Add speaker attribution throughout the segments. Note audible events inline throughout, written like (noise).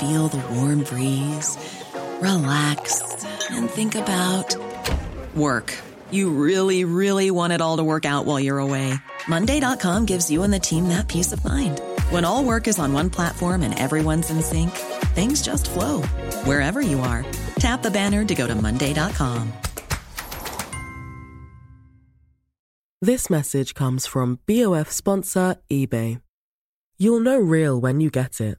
Speaker 1: feel the warm breeze, relax, and think about work. You really, really want it all to work out while you're away. Monday.com gives you and the team that peace of mind. When all work is on one platform and everyone's in sync, things just flow wherever you are. Tap the banner to go to Monday.com.
Speaker 2: This message comes from BOF sponsor eBay. You'll know real when you get it.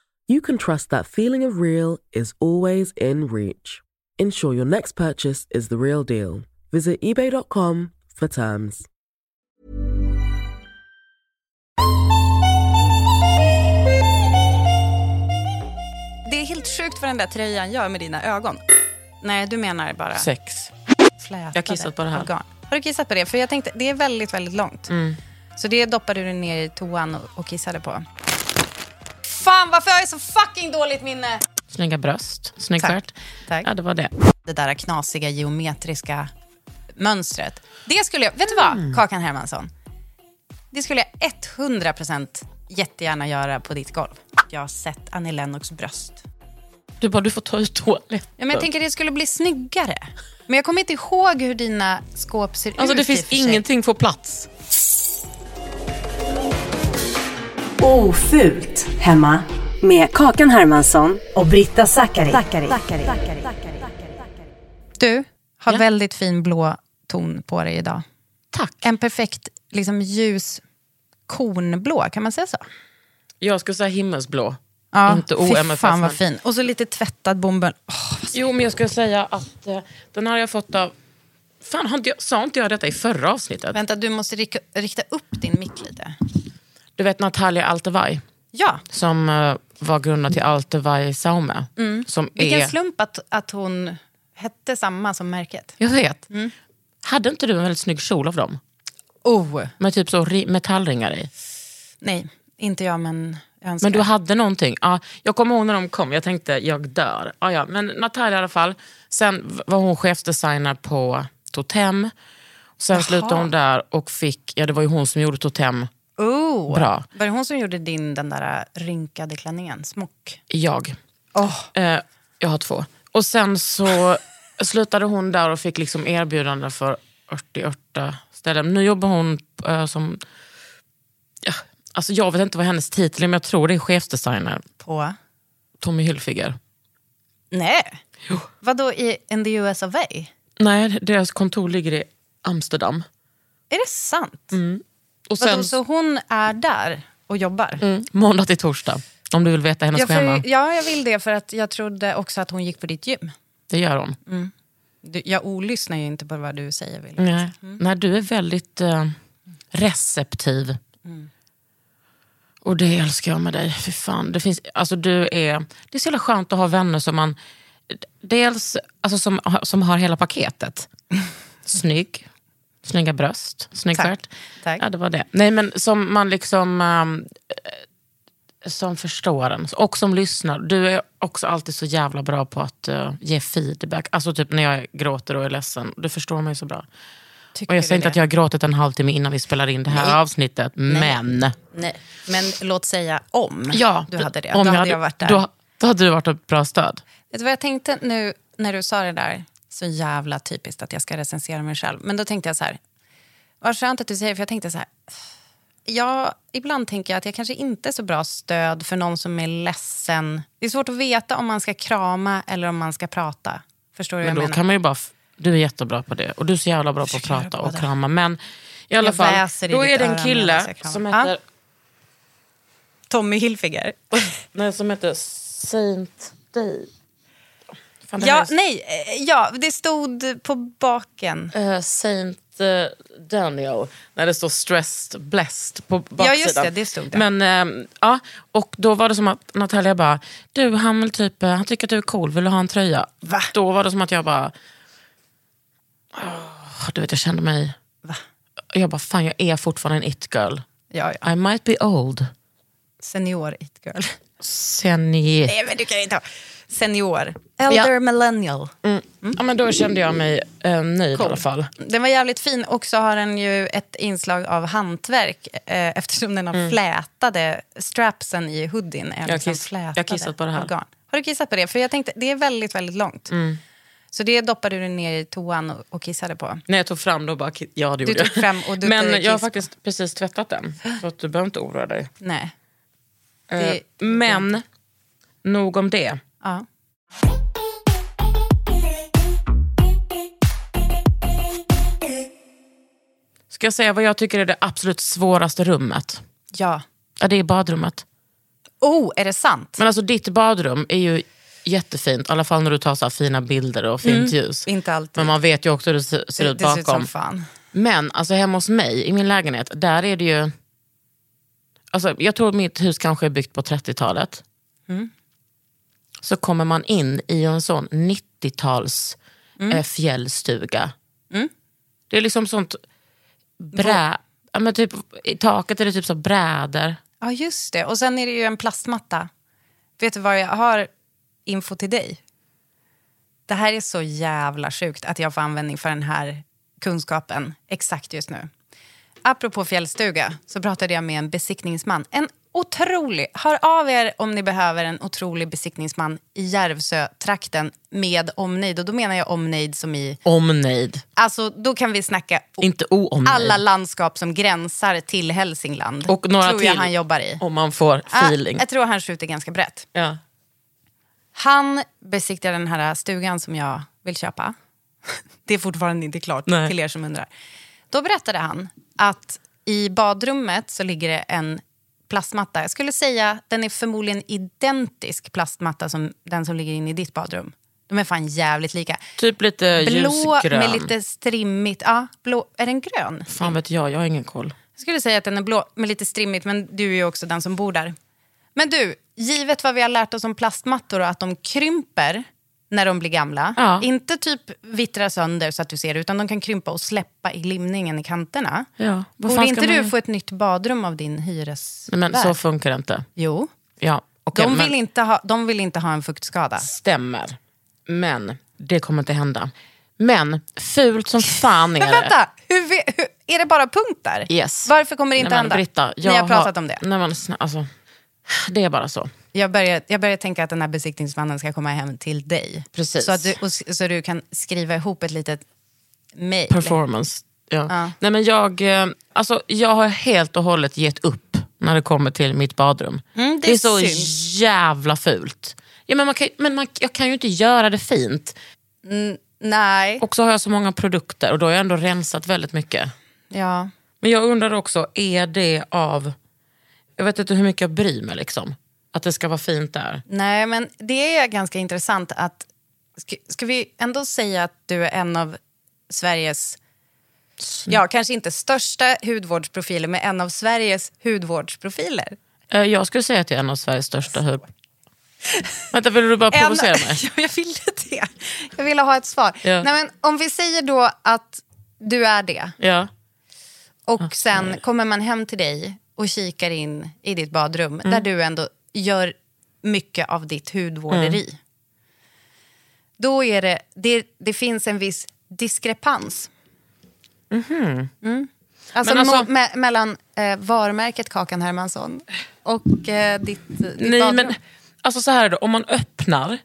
Speaker 2: you can trust that feeling of real is always in reach. Ensure your next purchase is the real deal. Visit eBay.com for terms.
Speaker 3: Det är helt sjukt vad den där tröjan gör med dina ögon. Nej, du menar bara
Speaker 4: Sex.
Speaker 3: slätade
Speaker 4: Jag har kissat på det här. Mm.
Speaker 3: organ. Har du kissat på det? För jag tänkte, det är väldigt, väldigt långt. Så det doppade du ner i toan och, och kissade på. Fan, varför har jag så fucking dåligt minne?
Speaker 4: Snygga bröst. Snygg
Speaker 3: Tack.
Speaker 4: stjärt.
Speaker 3: Tack.
Speaker 4: Ja, det var det.
Speaker 3: Det där knasiga geometriska mönstret. Det skulle jag, vet du
Speaker 4: Mm.
Speaker 3: vad, Kakan Hermansson? Det skulle jag 100% jättegärna göra på ditt golv. Jag har sett Annie Lennox bröst.
Speaker 4: Du bara, du får ta ut toaletten.
Speaker 3: Ja, men jag tänker det skulle bli snyggare. Men jag kommer inte ihåg hur dina skåp ser
Speaker 4: Alltså
Speaker 3: ut.
Speaker 4: det
Speaker 3: i och
Speaker 4: finns
Speaker 3: för sig.
Speaker 4: ingenting får plats.
Speaker 5: Ofult hemma med Kakan Hermansson och Britta Zackari.
Speaker 3: Du har
Speaker 4: Ja.
Speaker 3: väldigt fin blå ton på dig idag.
Speaker 4: Tack.
Speaker 3: En perfekt liksom, ljus kornblå, kan man säga så?
Speaker 4: Jag skulle säga himmelsblå.
Speaker 3: Ja,
Speaker 4: Inte
Speaker 3: fy
Speaker 4: OMFF.
Speaker 3: fan
Speaker 4: men-
Speaker 3: vad fin. Och så lite tvättad bomull. Åh, vad-
Speaker 4: Jo, men jag skulle säga att eh, den här har jag fått av... Fan, har inte jag, sa inte jag detta i förra avsnittet?
Speaker 3: vänta, du måste rikta, rikta upp din mick lite.
Speaker 4: Du vet Natalia Altevaj,
Speaker 3: Ja,
Speaker 4: som eh, var grundare till Altevaj Saume. Som
Speaker 3: Mm. vilken
Speaker 4: är,
Speaker 3: slump att, att hon hette samma som märket.
Speaker 4: Jag vet.
Speaker 3: Mm.
Speaker 4: Hade inte du en väldigt snygg kjol av dem?
Speaker 3: Oh,
Speaker 4: Med typ så ri- metallringar i.
Speaker 3: nej, inte jag men jag önskar.
Speaker 4: Men du hade någonting. Ja, jag kommer ihåg när de kom, jag tänkte jag dör. Ja, ja. Men Natalia i alla fall. Sen v- var hon chefdesigner på Totem. Sen slutade hon där och fick, ja det var ju hon som gjorde Totem,
Speaker 3: oh,
Speaker 4: Bra.
Speaker 3: Var det hon som gjorde din den där äh, rynkade klänningen, smock?
Speaker 4: jag.
Speaker 3: Åh,
Speaker 4: Eh, jag har två. Och sen så slutade hon där och fick liksom erbjudande för 88 ställen. Nu jobbar hon eh, som... Ja, alltså jag vet inte vad hennes titel är, men jag tror det är chefsdesigner.
Speaker 3: på?
Speaker 4: Tommy Hilfiger.
Speaker 3: Nej. Vadå i in the US of A?
Speaker 4: Nej, deras kontor ligger i Amsterdam.
Speaker 3: Är det sant?
Speaker 4: Mm. Och
Speaker 3: Vadå,
Speaker 4: sen
Speaker 3: så hon är där och jobbar?
Speaker 4: mm, måndag till torsdag, om du vill veta hennes
Speaker 3: Ja,
Speaker 4: schema.
Speaker 3: för, ja, jag vill det för att jag trodde också att hon gick på ditt gym.
Speaker 4: Det gör hon.
Speaker 3: Du, jag olyssnar ju inte på vad du säger. Vill.
Speaker 4: Nej. Nej, du är väldigt eh, receptiv.
Speaker 3: Mm.
Speaker 4: Och det älskar jag med dig. Fy fan. Det, finns, alltså, du är, det är så jävla skönt att ha vänner som man... Dels alltså, som, som har
Speaker 3: (laughs)
Speaker 4: hela paketet. Snygg, snygga bröst, snygg
Speaker 3: Tack.
Speaker 4: stjärt.
Speaker 3: Tack.
Speaker 4: Ja, det var det. Nej, men som man liksom... ehm, eh, som förstår en och som lyssnar. Du är också alltid så jävla bra på att eh, ge feedback. Alltså typ när jag gråter och är ledsen. Du förstår mig så bra.
Speaker 3: Tycker
Speaker 4: Och jag säger
Speaker 3: du
Speaker 4: inte
Speaker 3: det?
Speaker 4: att jag har gråtit en halvtimme innan vi spelar in det här avsnittet, men...
Speaker 3: Nej. Men låt säga om
Speaker 4: Ja,
Speaker 3: du hade det.
Speaker 4: om
Speaker 3: då hade jag varit där.
Speaker 4: Då, då hade du varit ett bra stöd.
Speaker 3: Vet du vad jag tänkte nu när du sa det där? Så jävla typiskt att jag ska recensera mig själv. Men då tänkte jag så här. Vad skönt att du säger för jag tänkte så här. jag, ibland tänker jag att jag kanske inte är så bra stöd för någon som är ledsen. Det är svårt att veta om man ska krama eller om man ska prata. Förstår du vad
Speaker 4: Men
Speaker 3: jag
Speaker 4: då
Speaker 3: menar?
Speaker 4: kan man ju bara, f- du är jättebra på det och du är så jävla bra på att prata och krama. Men i alla
Speaker 3: Jag
Speaker 4: fall,
Speaker 3: väser i
Speaker 4: då
Speaker 3: ditt
Speaker 4: är det en
Speaker 3: öra medan
Speaker 4: kille
Speaker 3: jag kramar.
Speaker 4: som
Speaker 3: Ja.
Speaker 4: heter,
Speaker 3: Tommy Hilfiger.
Speaker 4: nej, som heter Saint Day. Fan, det här
Speaker 3: (laughs) Ja,
Speaker 4: är så-
Speaker 3: nej, eh, ja, det stod på baken.
Speaker 4: Eh, Saint eh, Daniel, när det står stressed blessed på baksidan.
Speaker 3: Ja, just det, det stod där.
Speaker 4: Men, ehm, ja, och då var det som att Natalia bara, du han vill typ, eh, han tycker att du är cool, vill du ha en tröja?
Speaker 3: Va?
Speaker 4: Då var det som att jag bara, åh, du vet jag kände mig,
Speaker 3: Va?
Speaker 4: jag bara fan jag är fortfarande en it girl.
Speaker 3: Ja, ja.
Speaker 4: I might be old,
Speaker 3: Senior it girl.
Speaker 4: senior.
Speaker 3: Nej, men du kan inte ha. Senior. Elder millennial. Mm.
Speaker 4: Ja, men då kände jag mig eh, nöjd i alla fall.
Speaker 3: Den var jävligt fin och så har den ju ett inslag av hantverk eh, eftersom den har flätade strapsen i hoodien. Är jag,
Speaker 4: kiss- Mm. jag har kissat på det här. Mm.
Speaker 3: Har du kissat på det? För jag tänkte, det är väldigt, väldigt långt. Så det doppade du ner i toan och, och kissade på.
Speaker 4: När jag tog fram då bara, ki- ja det gjorde
Speaker 3: tog
Speaker 4: jag.
Speaker 3: fram och du
Speaker 4: Men
Speaker 3: tog
Speaker 4: jag har
Speaker 3: kiss på.
Speaker 4: faktiskt precis tvättat den, så att du behöver inte oroa dig.
Speaker 3: Nej.
Speaker 4: Eh,
Speaker 3: Det-
Speaker 4: men, nog om det.
Speaker 3: Ja.
Speaker 4: Ska jag säga vad jag tycker är det absolut svåraste rummet?
Speaker 3: ja.
Speaker 4: Ja, det är badrummet.
Speaker 3: Oh, är det sant?
Speaker 4: Men alltså ditt badrum är ju jättefint, i alla fall när du tar så här fina bilder och fint ljus.
Speaker 3: Inte alltid.
Speaker 4: Men man vet ju också hur det ser, ser
Speaker 3: Mm. det,
Speaker 4: ut
Speaker 3: det ser ut
Speaker 4: bakom.
Speaker 3: som fan.
Speaker 4: Men alltså hemma hos mig, i min lägenhet, där är det ju... Alltså, jag tror mitt hus kanske är byggt på 30-talet. Mm. Så kommer man in i en sån 90-tals eh, fjällstuga. Mm. Det är liksom sånt brä... Ja, men typ, I taket är det typ så brädor.
Speaker 3: Ja, just det. Och sen är det ju en plastmatta. Vet du vad jag har info till dig? Det här är så jävla sjukt att jag får användning för den här kunskapen exakt just nu. Apropå fjällstuga så pratade jag med en besiktningsman. En otrolig, hör av er om ni behöver en otrolig besiktningsman i Järvsö-trakten med omnejd. Och då menar jag omnejd som i,
Speaker 4: Omnejd.
Speaker 3: alltså då kan vi snacka
Speaker 4: Inte oomnejd.
Speaker 3: alla landskap som gränsar till Hälsingland.
Speaker 4: Och några
Speaker 3: tror jag
Speaker 4: till.
Speaker 3: han jobbar i.
Speaker 4: Om man får feeling.
Speaker 3: Ah, jag tror han skjuter ganska brett.
Speaker 4: ja.
Speaker 3: Han besiktar den här stugan som jag vill köpa. (laughs) Det är fortfarande inte klart
Speaker 4: Nej.
Speaker 3: till er som undrar. Då berättade han att i badrummet så ligger det en plastmatta. Jag skulle säga den är förmodligen identisk plastmatta som den som ligger inne i ditt badrum. De är fan jävligt lika.
Speaker 4: Typ lite
Speaker 3: Blå
Speaker 4: ljusgrön.
Speaker 3: med lite strimmigt... Ja, blå. Är den grön?
Speaker 4: Fan vet jag, jag har ingen koll.
Speaker 3: Jag skulle säga att den är blå, men lite strimmigt, men du är ju också den som bor där. Men du, givet vad vi har lärt oss om plastmattor och att de krymper när de blir gamla,
Speaker 4: Ja.
Speaker 3: inte typ vittra sönder så att du ser det, utan de kan krympa och släppa i limningen i kanterna.
Speaker 4: Ja. Vad
Speaker 3: Borde
Speaker 4: fan ska
Speaker 3: inte du
Speaker 4: man-
Speaker 3: få ett nytt badrum av din hyresvärd?
Speaker 4: Nej, men så funkar det inte.
Speaker 3: Jo,
Speaker 4: Ja, okej,
Speaker 3: de, vill
Speaker 4: men-
Speaker 3: inte ha, de vill inte ha en fuktskada.
Speaker 4: Stämmer. Men det kommer inte hända. Men fult som fan är
Speaker 3: Men
Speaker 4: det.
Speaker 3: vänta, hur, vi- hur, är det bara punkt där?
Speaker 4: Yes.
Speaker 3: Varför kommer det inte
Speaker 4: Nej, men
Speaker 3: hända?
Speaker 4: Britta,
Speaker 3: Ni har pratat om det.
Speaker 4: Nej, men, snä- alltså, det är bara så.
Speaker 3: Jag börjar, jag börjar tänka att den här besiktningsmannen ska komma hem till dig.
Speaker 4: Precis.
Speaker 3: Så, att du, och, s- så du kan skriva ihop ett litet mejl.
Speaker 4: Performance. Ja. Nej, men jag, eh, alltså, jag har helt och hållet gett upp när det kommer till mitt badrum.
Speaker 3: Mm, det
Speaker 4: är så
Speaker 3: syns.
Speaker 4: jävla fult. Ja, men man kan, men man, jag kan ju inte göra det fint.
Speaker 3: Nej.
Speaker 4: Och så har jag så många produkter och då har jag ändå rensat väldigt mycket.
Speaker 3: Ja.
Speaker 4: Men jag undrar också, är det av... Jag vet inte hur mycket jag bryr mig. Liksom. Att det ska vara fint där.
Speaker 3: Nej, men det är ganska intressant att... Ska, ska vi ändå säga att du är en av Sveriges, ja kanske inte största hudvårdsprofiler, men en av Sveriges hudvårdsprofiler?
Speaker 4: Eh, Jag skulle säga att jag är en av Sveriges största hud... Vänta, vill du bara provocera mig?
Speaker 3: (laughs) Ja, jag ville det. Jag ville ha ett svar.
Speaker 4: Ja.
Speaker 3: Nej, men om vi säger då att du är det.
Speaker 4: Ja.
Speaker 3: Och sen kommer man hem till dig och kikar in i ditt badrum
Speaker 4: Mm.
Speaker 3: där du ändå gör mycket av ditt hudvårderi.
Speaker 4: Mm.
Speaker 3: Då är det, det, det finns en viss diskrepans. Mm. Alltså,
Speaker 4: Mhm. Men alltså-
Speaker 3: mo- me- mellan eh, varumärket Kakan Hermansson och eh, ditt, ditt
Speaker 4: Nej,
Speaker 3: badrum. Mm.
Speaker 4: men, alltså så här är det, om man öppnar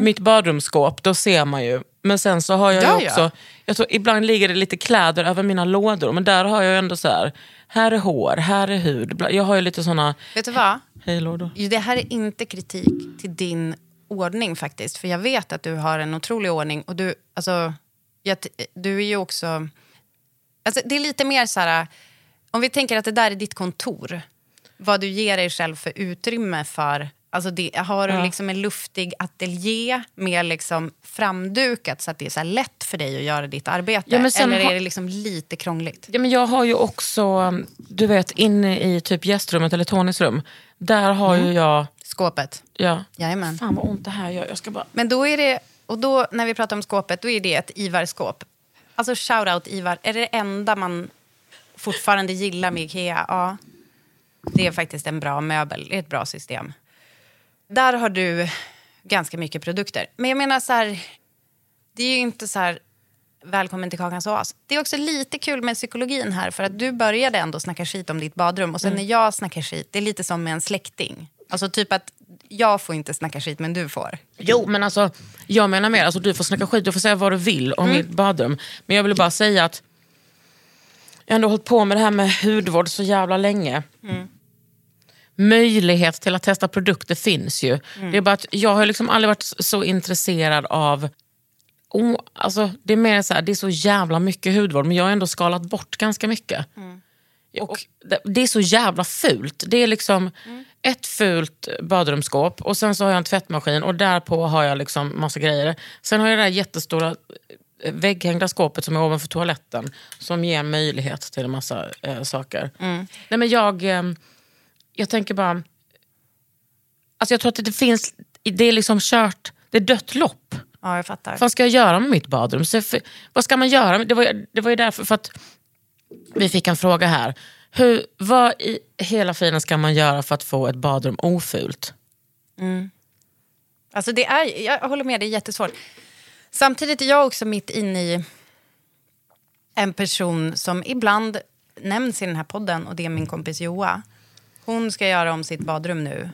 Speaker 4: mitt badrumsskåp, då ser man ju. Men sen så har jag
Speaker 3: Ja,
Speaker 4: ju
Speaker 3: ja.
Speaker 4: också... Jag tror, ibland ligger det lite kläder över mina lådor, men där har jag ju ändå så här... här är hår, här är hud. Bla- Jag har ju lite såna
Speaker 3: Vet du vad?
Speaker 4: hejlor då.
Speaker 3: Det här är inte kritik till din ordning faktiskt. För jag vet att du har en otrolig ordning. Och du, alltså, jag, t- du är ju också... Alltså, det är lite mer så här... Om vi tänker att det där är ditt kontor. Vad du ger dig själv för utrymme för... Alltså det, har du liksom en luftig ateljé med liksom framdukat så att det är så här lätt för dig att göra ditt arbete?
Speaker 4: Ja, men sen
Speaker 3: Eller
Speaker 4: har-
Speaker 3: är det liksom lite krångligt?
Speaker 4: Ja, men jag har ju också, um, du vet inne i typ gästrummet eller Tonys rum. Där har ju jag,
Speaker 3: Skåpet?
Speaker 4: ja.
Speaker 3: Jajamän.
Speaker 4: Fan vad ont det här gör. Jag ska bara...
Speaker 3: Men då är det, och då när vi pratar om skåpet, då är det ett Ivar-skåp. Alltså shoutout Ivar, är det det enda man fortfarande gillar med Ikea? Ja, det är faktiskt en bra möbel, det är ett bra system. Där har du ganska mycket produkter. Men jag menar så här, det är ju inte så här, välkommen till Kakans Oas. Det är också lite kul med psykologin här, för att du började ändå snacka skit om ditt badrum och sen när jag snackar skit, det är lite som med en släkting. Alltså typ att jag får inte snacka skit men du får.
Speaker 4: Jo, men alltså, jag menar mer, alltså, du får snacka skit, du får säga vad du vill om mitt badrum. Men jag ville bara säga att jag har ändå hållit på med det här med hudvård så jävla länge. Möjlighet till att testa produkter finns ju. Det är bara att jag har liksom aldrig varit så intresserad av Oh, alltså, det är mer så här, det är så jävla mycket hudvård men jag har ändå skalat bort ganska mycket. Och det, det är så jävla fult. Det är liksom ett fult badrumsskåp och sen så har jag en tvättmaskin och därpå har jag liksom massa grejer. Sen har jag det där jättestora eh, vägghängda skåpet som är ovanför toaletten som ger möjlighet till en massa eh, saker. Nej, men jag, eh, jag tänker bara... Alltså jag tror att det finns... Det är liksom kört... Det är dött lopp.
Speaker 3: Ja, jag fattar.
Speaker 4: Vad fan ska jag göra med mitt badrum? Så för, vad ska man göra? Det var, det var ju därför för att vi fick en fråga här. Hur, vad i hela friden ska man göra för att få ett badrum ofult?
Speaker 3: Alltså det är, jag håller med, det är jättesvårt. Samtidigt är jag också mitt inne i en person som ibland nämns i den här podden och det är min kompis Joa. Hon ska göra om sitt badrum nu.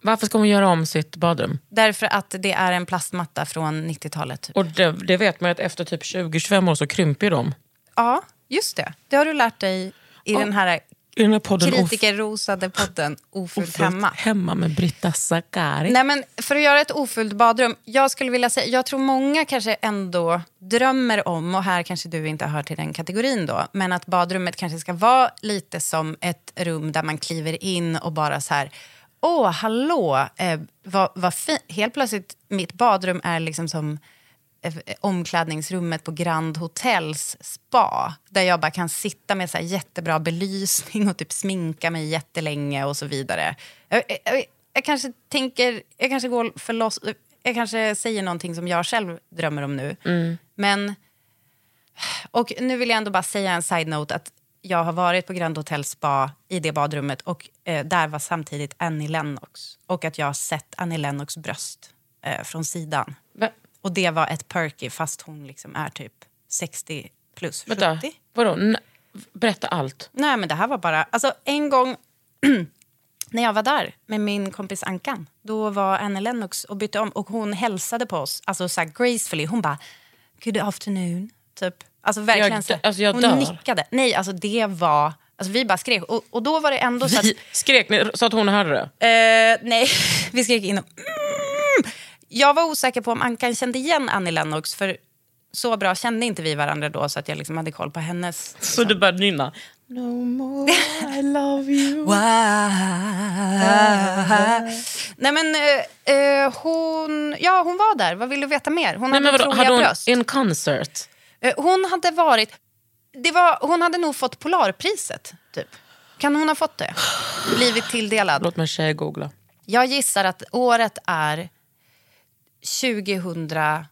Speaker 4: Varför ska hon göra om sitt badrum?
Speaker 3: Därför att det är en plastmatta från 90-talet.
Speaker 4: Och det, det vet man ju att efter typ 20-25 år så krymper ju de.
Speaker 3: Ja, just det. Det har du lärt dig i den här
Speaker 4: I den här podden of-
Speaker 3: kritikerrosade podden Ofullt
Speaker 4: ofult
Speaker 3: hemma.
Speaker 4: hemma med Britta Sakari.
Speaker 3: Nej, men för att göra ett ofullt badrum, jag skulle vilja säga, jag tror många kanske ändå drömmer om, och här kanske du inte hör till den kategorin då, men att badrummet kanske ska vara lite som ett rum där man kliver in och bara så här, åh, hallå, eh, vad, vad fint. Helt plötsligt, mitt badrum är liksom som eh, omklädningsrummet på Grand Hotels spa där jag bara kan sitta med så här jättebra belysning och typ sminka mig jättelänge och så vidare. Jag, jag, jag kanske tänker, jag kanske går för loss, jag kanske säger någonting som jag själv drömmer om nu. Men, och nu vill jag ändå bara säga en side-note att jag har varit på Grand Hotel Spa i det badrummet och eh, där var samtidigt Annie Lennox och att jag har sett Annie Lennox bröst eh, från sidan.
Speaker 4: Va-
Speaker 3: Och det var ett perky fast hon liksom är typ 60 plus 70.
Speaker 4: Vänta, vadå? N- berätta allt.
Speaker 3: Nej men det här var bara, alltså en gång (clears throat) när jag var där med min kompis Ankan, då var Annie Lennox och bytte om och hon hälsade på oss, alltså så här gracefully, hon bara good afternoon, typ. Alltså verkligen
Speaker 4: Jag
Speaker 3: så här,
Speaker 4: dö- alltså, jag
Speaker 3: hon
Speaker 4: dör.
Speaker 3: nickade. Nej alltså det var, alltså vi bara skrek och, och då var det ändå så att
Speaker 4: Vi skrek ni så att hon hörde det?
Speaker 3: (laughs) Eh, nej, (laughs) vi skrek in och, mm. Jag var osäker på om Ankan kände igen Annie Lennox för så bra kände inte vi varandra då så att jag liksom hade koll på hennes...
Speaker 4: Så du började nynna? No more I love you.
Speaker 3: Nej men eh, eh, hon... Ja hon var där, vad vill du veta mer? Hon
Speaker 4: Nej, men
Speaker 3: hade
Speaker 4: vadå,
Speaker 3: otroliga
Speaker 4: hade hon
Speaker 3: bröst.
Speaker 4: en concert?
Speaker 3: Eh, hon hade varit... Det var, hon hade nog fått Polarpriset typ. Kan hon ha fått det? Blivit tilldelad.
Speaker 4: Låt mig tjejgoogla.
Speaker 3: Jag gissar att året är 2017.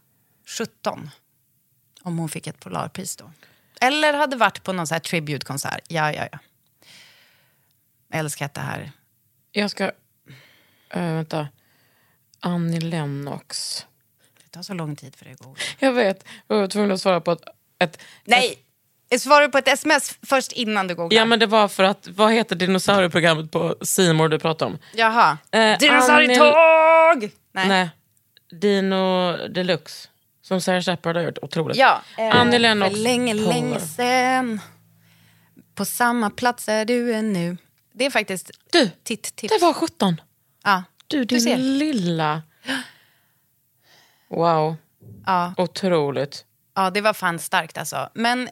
Speaker 3: Om hon fick ett Polarpris då. Eller hade varit på någon så här tributekonsert. Ja, ja, ja. Jag älskar att det här...
Speaker 4: Jag ska... eh, vänta. Annie Lennox.
Speaker 3: Det tar så lång tid för det att gå.
Speaker 4: Jag vet. Jag var tvungen att svara på ett... ett
Speaker 3: Nej! Svarar du på ett sms först innan du googlar?
Speaker 4: Ja, men det var för att... Vad heter dinosaurieprogrammet på C More du pratade om?
Speaker 3: Jaha.
Speaker 4: Eh,
Speaker 3: Dinosaurietåg! Nej.
Speaker 4: Nej. Dino Deluxe. Som Sarah Shepard har gjort. Otroligt.
Speaker 3: Ja.
Speaker 4: Annie Lennox.
Speaker 3: För eh, länge,
Speaker 4: Polar.
Speaker 3: länge sen. På samma plats är du ännu. Det är faktiskt
Speaker 4: Du,
Speaker 3: titt-tips.
Speaker 4: det var 17.
Speaker 3: ja.
Speaker 4: Du, din
Speaker 3: ser.
Speaker 4: lilla... Wow,
Speaker 3: Ja.
Speaker 4: otroligt.
Speaker 3: ja, det var fan starkt alltså. Men eh,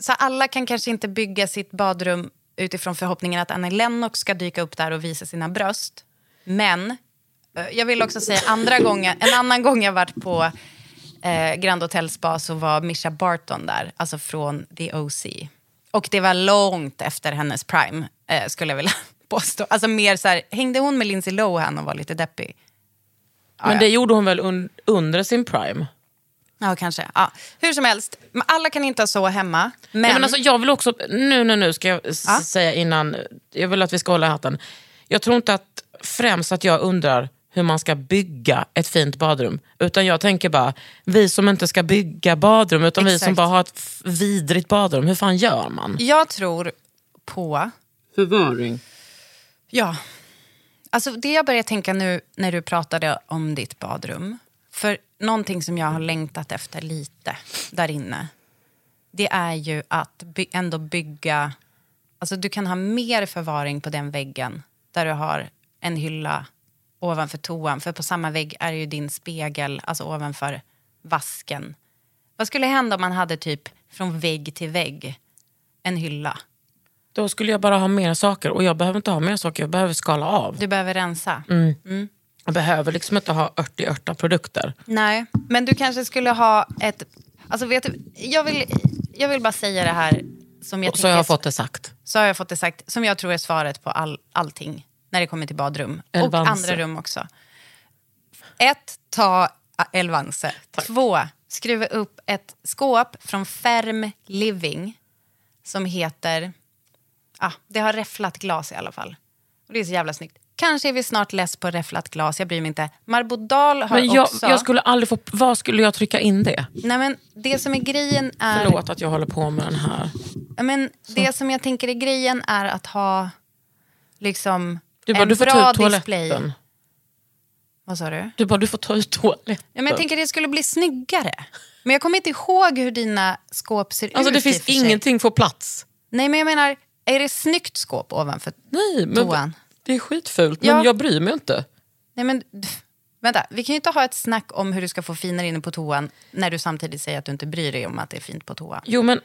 Speaker 3: så alla kan kanske inte bygga sitt badrum utifrån förhoppningen att Annie Lennox ska dyka upp där och visa sina bröst. Men eh, jag vill också säga andra gången, en annan gång jag varit på eh, Grand Hotel Spa så var Misha Barton där, alltså från The OC. Och det var långt efter hennes prime, eh, skulle jag vilja (laughs) påstå. Alltså mer så här, hängde hon med Lindsay Lohan och var lite deppig?
Speaker 4: Men det gjorde hon väl un- under sin prime?
Speaker 3: Ja, kanske. Ja. Hur som helst, men alla kan inte ha så hemma. Men,
Speaker 4: Nej, men alltså, jag vill också, nu, nu, nu ska jag s- säga innan, jag vill att vi ska hålla i hatten. Jag tror inte att främst att jag undrar hur man ska bygga ett fint badrum. Utan jag tänker bara, vi som inte ska bygga badrum, utan vi som
Speaker 3: Exakt.
Speaker 4: bara har ett f- vidrigt badrum, hur fan gör man?
Speaker 3: jag tror på...
Speaker 4: Förvaring.
Speaker 3: Ja. Alltså, det jag började tänka nu när du pratade om ditt badrum. För någonting som jag har längtat efter lite där inne. Det är ju att by- ändå bygga... Alltså du kan ha mer förvaring på den väggen där du har en hylla ovanför toan. För på samma vägg är ju din spegel, alltså ovanför vasken. Vad skulle hända om man hade typ från vägg till vägg en hylla?
Speaker 4: Då skulle jag bara ha mer saker och jag behöver inte ha mer saker, jag behöver skala av.
Speaker 3: Du behöver rensa.
Speaker 4: Mm. Jag behöver liksom inte ha ört i örta produkter.
Speaker 3: Nej, men du kanske skulle ha ett... Alltså vet du, jag, vill, jag vill bara säga det här som jag,
Speaker 4: Och så har jag
Speaker 3: tänker-
Speaker 4: fått det sagt.
Speaker 3: så har jag fått det sagt, som jag tror är svaret på all, allting när det kommer till badrum och
Speaker 4: Elvanse.
Speaker 3: andra rum också. Ett, ta ä, Elvanse. Två, skruva upp ett skåp från Ferm Living som heter... Ah, det har räfflat glas i alla fall. Och Det är så jävla snyggt. Kanske är vi snart less på räfflat glas, jag bryr mig inte. Marbodal har
Speaker 4: Men jag,
Speaker 3: också...
Speaker 4: jag skulle aldrig få, var skulle jag trycka in det?
Speaker 3: Nej, men det som är grejen är...
Speaker 4: Förlåt att jag håller på med den här.
Speaker 3: Ja, Men det som jag tänker är grejen är att ha liksom
Speaker 4: Du bara,
Speaker 3: en
Speaker 4: du får ta
Speaker 3: bra
Speaker 4: ut toaletten.
Speaker 3: display. Vad sa du?
Speaker 4: Du bara, du får ta ut toaletten.
Speaker 3: Ja, men jag tänker det skulle bli snyggare. Men jag kommer inte ihåg hur dina skåp ser
Speaker 4: alltså
Speaker 3: ut. i
Speaker 4: det
Speaker 3: och
Speaker 4: finns
Speaker 3: för sig.
Speaker 4: ingenting för plats.
Speaker 3: Nej, men jag menar, är det snyggt skåp ovanför?
Speaker 4: Nej, men
Speaker 3: Toan.
Speaker 4: det är skitfult.
Speaker 3: Ja.
Speaker 4: Men jag bryr mig inte.
Speaker 3: Nej, men (laughs) pff, vänta. Vi kan ju inte ha ett snack om hur du ska få finare inne på toan när du samtidigt säger att du inte bryr dig om att det är fint på toa.
Speaker 4: Jo men,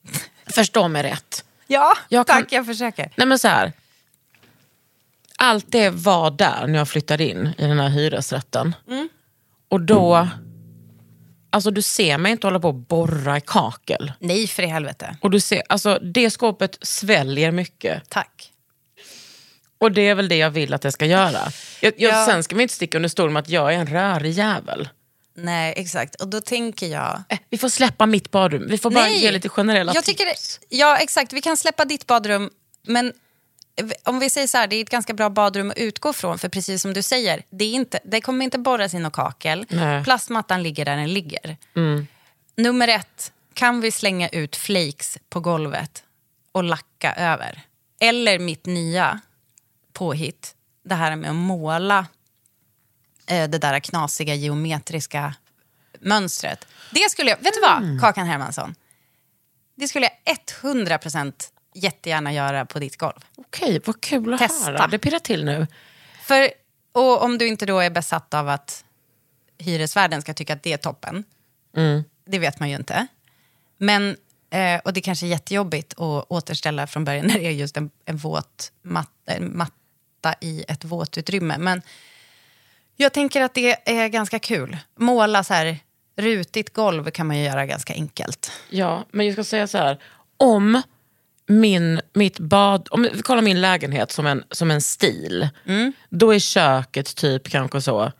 Speaker 4: (laughs) förstå mig rätt.
Speaker 3: Ja,
Speaker 4: Jag kan-
Speaker 3: tack. Jag försöker.
Speaker 4: Nej men så här. Allt det var där när jag flyttade in i den här hyresrätten.
Speaker 3: Mm.
Speaker 4: Och då, alltså du ser mig inte hålla på och borra i kakel.
Speaker 3: Nej, för i helvete.
Speaker 4: Och du ser, alltså det skåpet sväljer mycket.
Speaker 3: Tack.
Speaker 4: Och det är väl det jag vill att jag ska göra. Jag, jag,
Speaker 3: Ja.
Speaker 4: Sen ska man inte sticka under stol med att jag är en rörig jävel.
Speaker 3: Nej, exakt. Och då tänker jag...
Speaker 4: Eh, Vi får släppa mitt badrum. Vi får bara ge lite generella
Speaker 3: jag tycker,
Speaker 4: tips.
Speaker 3: Ja, exakt. Vi kan släppa ditt badrum, men v- om vi säger så här, det är ett ganska bra badrum att utgå från, för precis som du säger, det, är inte, det kommer inte borras in och kakel.
Speaker 4: Nej. Mm.
Speaker 3: Plastmattan ligger där den ligger. Nummer ett, kan vi slänga ut flakes på golvet och lacka över? Eller mitt nya påhitt, det här med att måla eh, det där knasiga geometriska mönstret. Det skulle jag, vet du
Speaker 4: Mm.
Speaker 3: vad, Kakan Hermansson? Det skulle jag 100% jättegärna göra på ditt golv.
Speaker 4: Okej, vad kul att
Speaker 3: Testa.
Speaker 4: höra. Det pirrar till nu.
Speaker 3: För, och om du inte då är besatt av att hyresvärden ska tycka att det är toppen, det vet man ju inte. Men, eh, och det kanske är jättejobbigt att återställa från början (laughs) när det är just en, en våt mat, en matta i ett våtutrymme. Men jag tänker att det är ganska kul. Måla så här, rutigt golv kan man ju göra ganska enkelt.
Speaker 4: Ja, men jag ska säga så här. Om min, mitt bad, om vi kollar min lägenhet som en, som en stil. Då är köket typ kanske så,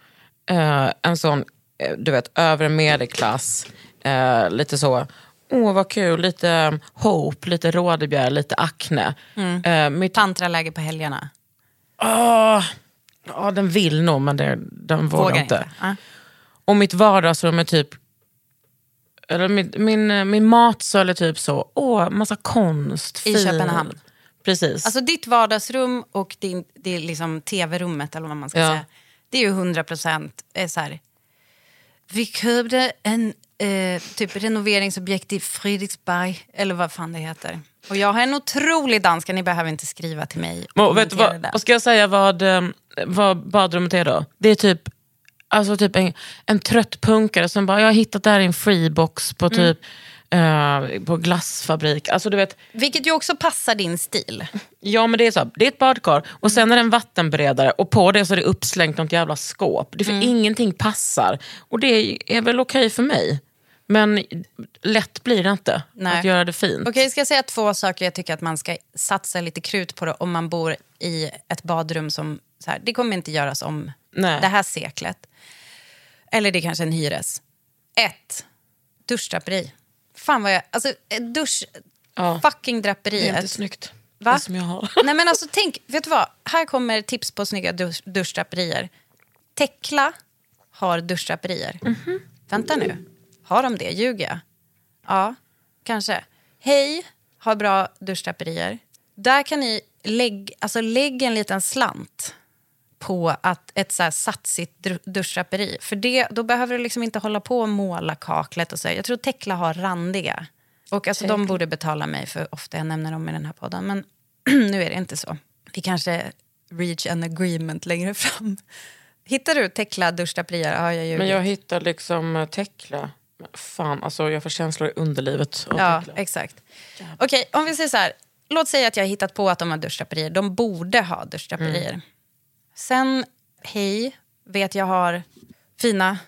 Speaker 4: eh, en sån, eh, du vet, övre medelklass. eh, lite så, åh vad kul, lite um, hope, lite rådebjär, lite akne. Eh, mitt,
Speaker 3: Tantraläge på helgerna.
Speaker 4: åh, Ah, ja, den vill nog men det, den vågar,
Speaker 3: Vågar
Speaker 4: inte.
Speaker 3: inte. Ah.
Speaker 4: Och mitt vardagsrum är typ eller min, min, eh, min matsal är typ så, åh, massa konst.
Speaker 3: I
Speaker 4: fil.
Speaker 3: Köpenhamn.
Speaker 4: Precis.
Speaker 3: Alltså ditt vardagsrum och din, det är liksom tv-rummet eller vad man ska
Speaker 4: Ja.
Speaker 3: eh, säga. Det är ju 100 procent så här. Vi köpte en eh, typ renoveringsobjekt i Fredriksberg, eller vad fan det heter. Och jag har en otrolig danska, ni behöver inte skriva till mig. och
Speaker 4: Men, vet du
Speaker 3: kommentera
Speaker 4: vad,
Speaker 3: det där.
Speaker 4: vad ska jag säga vad, eh, vad badrummet är då? Det är typ, alltså typ en, en trött punkare som bara, jag har hittat det här i en freebox på
Speaker 3: Mm.
Speaker 4: typ eh, på glassfabrik. Alltså du vet,
Speaker 3: Vilket ju också passar din stil.
Speaker 4: ja men det är så här, det är ett badkar
Speaker 3: Mm.
Speaker 4: och sen är det en vattenberedare och på det så är det uppslängt något jävla skåp. Det, för
Speaker 3: Mm.
Speaker 4: Ingenting passar och det är väl okej för mig. Men lätt blir det inte
Speaker 3: Nej.
Speaker 4: att göra det fint.
Speaker 3: Okej, ska jag säga två saker jag tycker att man ska satsa lite krut på då, om man bor i ett badrum som... Så här, det kommer inte göras om
Speaker 4: Nej.
Speaker 3: det här seklet. Eller det är kanske en hyres. Ett, duschdraperi. Fan vad jag... Alltså, eh, dusch...
Speaker 4: Ja.
Speaker 3: Fucking
Speaker 4: Det är
Speaker 3: draperiet.
Speaker 4: inte snyggt.
Speaker 3: Va?
Speaker 4: Det som
Speaker 3: (laughs)
Speaker 4: jag har.
Speaker 3: Nej men alltså tänk, vet du vad? Här kommer tips på snygga dusch, duschdraperier. Tekla har duschdraperier.
Speaker 4: Mhm.
Speaker 3: Vänta nu, har de det? Ljuger jag? Ja, kanske. Hej har bra duschdraperier. Där kan ni lägga alltså lägg en liten slant på att ett så här satsigt dr- duschdraperi. För det, då behöver du liksom inte hålla på och måla kaklet. Och så. Jag tror Tekla har randiga. Och alltså, de borde betala mig för ofta jag nämner dem i den här podden. Men (clears throat) nu är det inte så. Vi kanske reach an agreement längre fram. Hittar du Tekla duschdraperier? Ja, jag ljuger.
Speaker 4: Men jag hittar liksom eh, Tekla. Men Fan, alltså jag får känslor i underlivet av
Speaker 3: Ja,
Speaker 4: Tekla.
Speaker 3: exakt. Okej, om vi säger så här. Låt säga att jag har hittat på att de har duschdraperier. De borde ha duschdraperier.
Speaker 4: Mm.
Speaker 3: Sen, hej, vet jag har fina...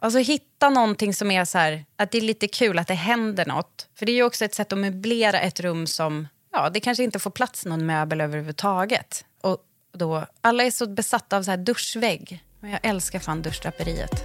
Speaker 3: Alltså hitta någonting som är så här, att det är lite kul att det händer något. För det är ju också ett sätt att möblera ett rum som, ja, det kanske inte får plats någon möbel överhuvudtaget. Och då, alla är så besatta av så här duschvägg. Men jag älskar fan duschdraperiet.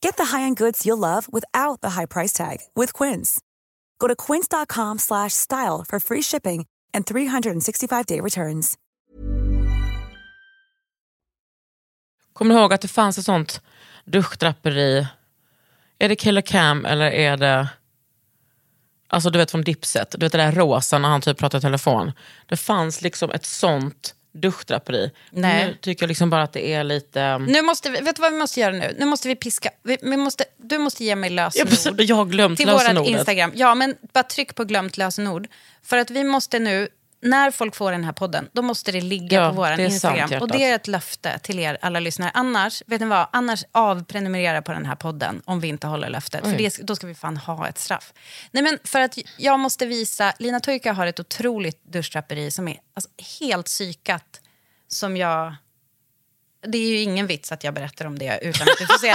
Speaker 6: Get the high-end goods you'll love without the high price tag with Quince. Go to quince.com/style slash style for free shipping and 365-day returns.
Speaker 4: Kommer ni ihåg att det fanns ett sånt duschdraperi? Är det Killer Cam eller är det... Alltså du vet från Dipset, du vet det där rosa när han typ pratar i telefon. Det fanns liksom ett sånt duschdraperi.
Speaker 3: Nej.
Speaker 4: Nu tycker jag liksom bara att det är lite...
Speaker 3: Nu måste vi, vet du vad vi måste göra nu? Nu måste vi piska. Vi, vi måste, du måste ge mig
Speaker 4: Jag,
Speaker 3: lösenord.
Speaker 4: precis, jag har glömt
Speaker 3: till vårt
Speaker 4: lösenordet.
Speaker 3: Instagram. Ja, men bara tryck på glömt lösenord. För att vi måste nu, när folk får den här podden, då måste det ligga
Speaker 4: Ja,
Speaker 3: på vår
Speaker 4: det är sant,
Speaker 3: Instagram.
Speaker 4: hjärtat.
Speaker 3: och det är ett löfte till er alla lyssnare. Annars, vet ni vad? Annars avprenumerera på den här podden om vi inte håller löftet. För det, då ska vi fan ha ett straff. Nej, men för att jag måste visa, Lina Turka har ett otroligt duschdraperi som är alltså, helt psykat. Som jag... Det är ju ingen vits att jag berättar om det utan att du får se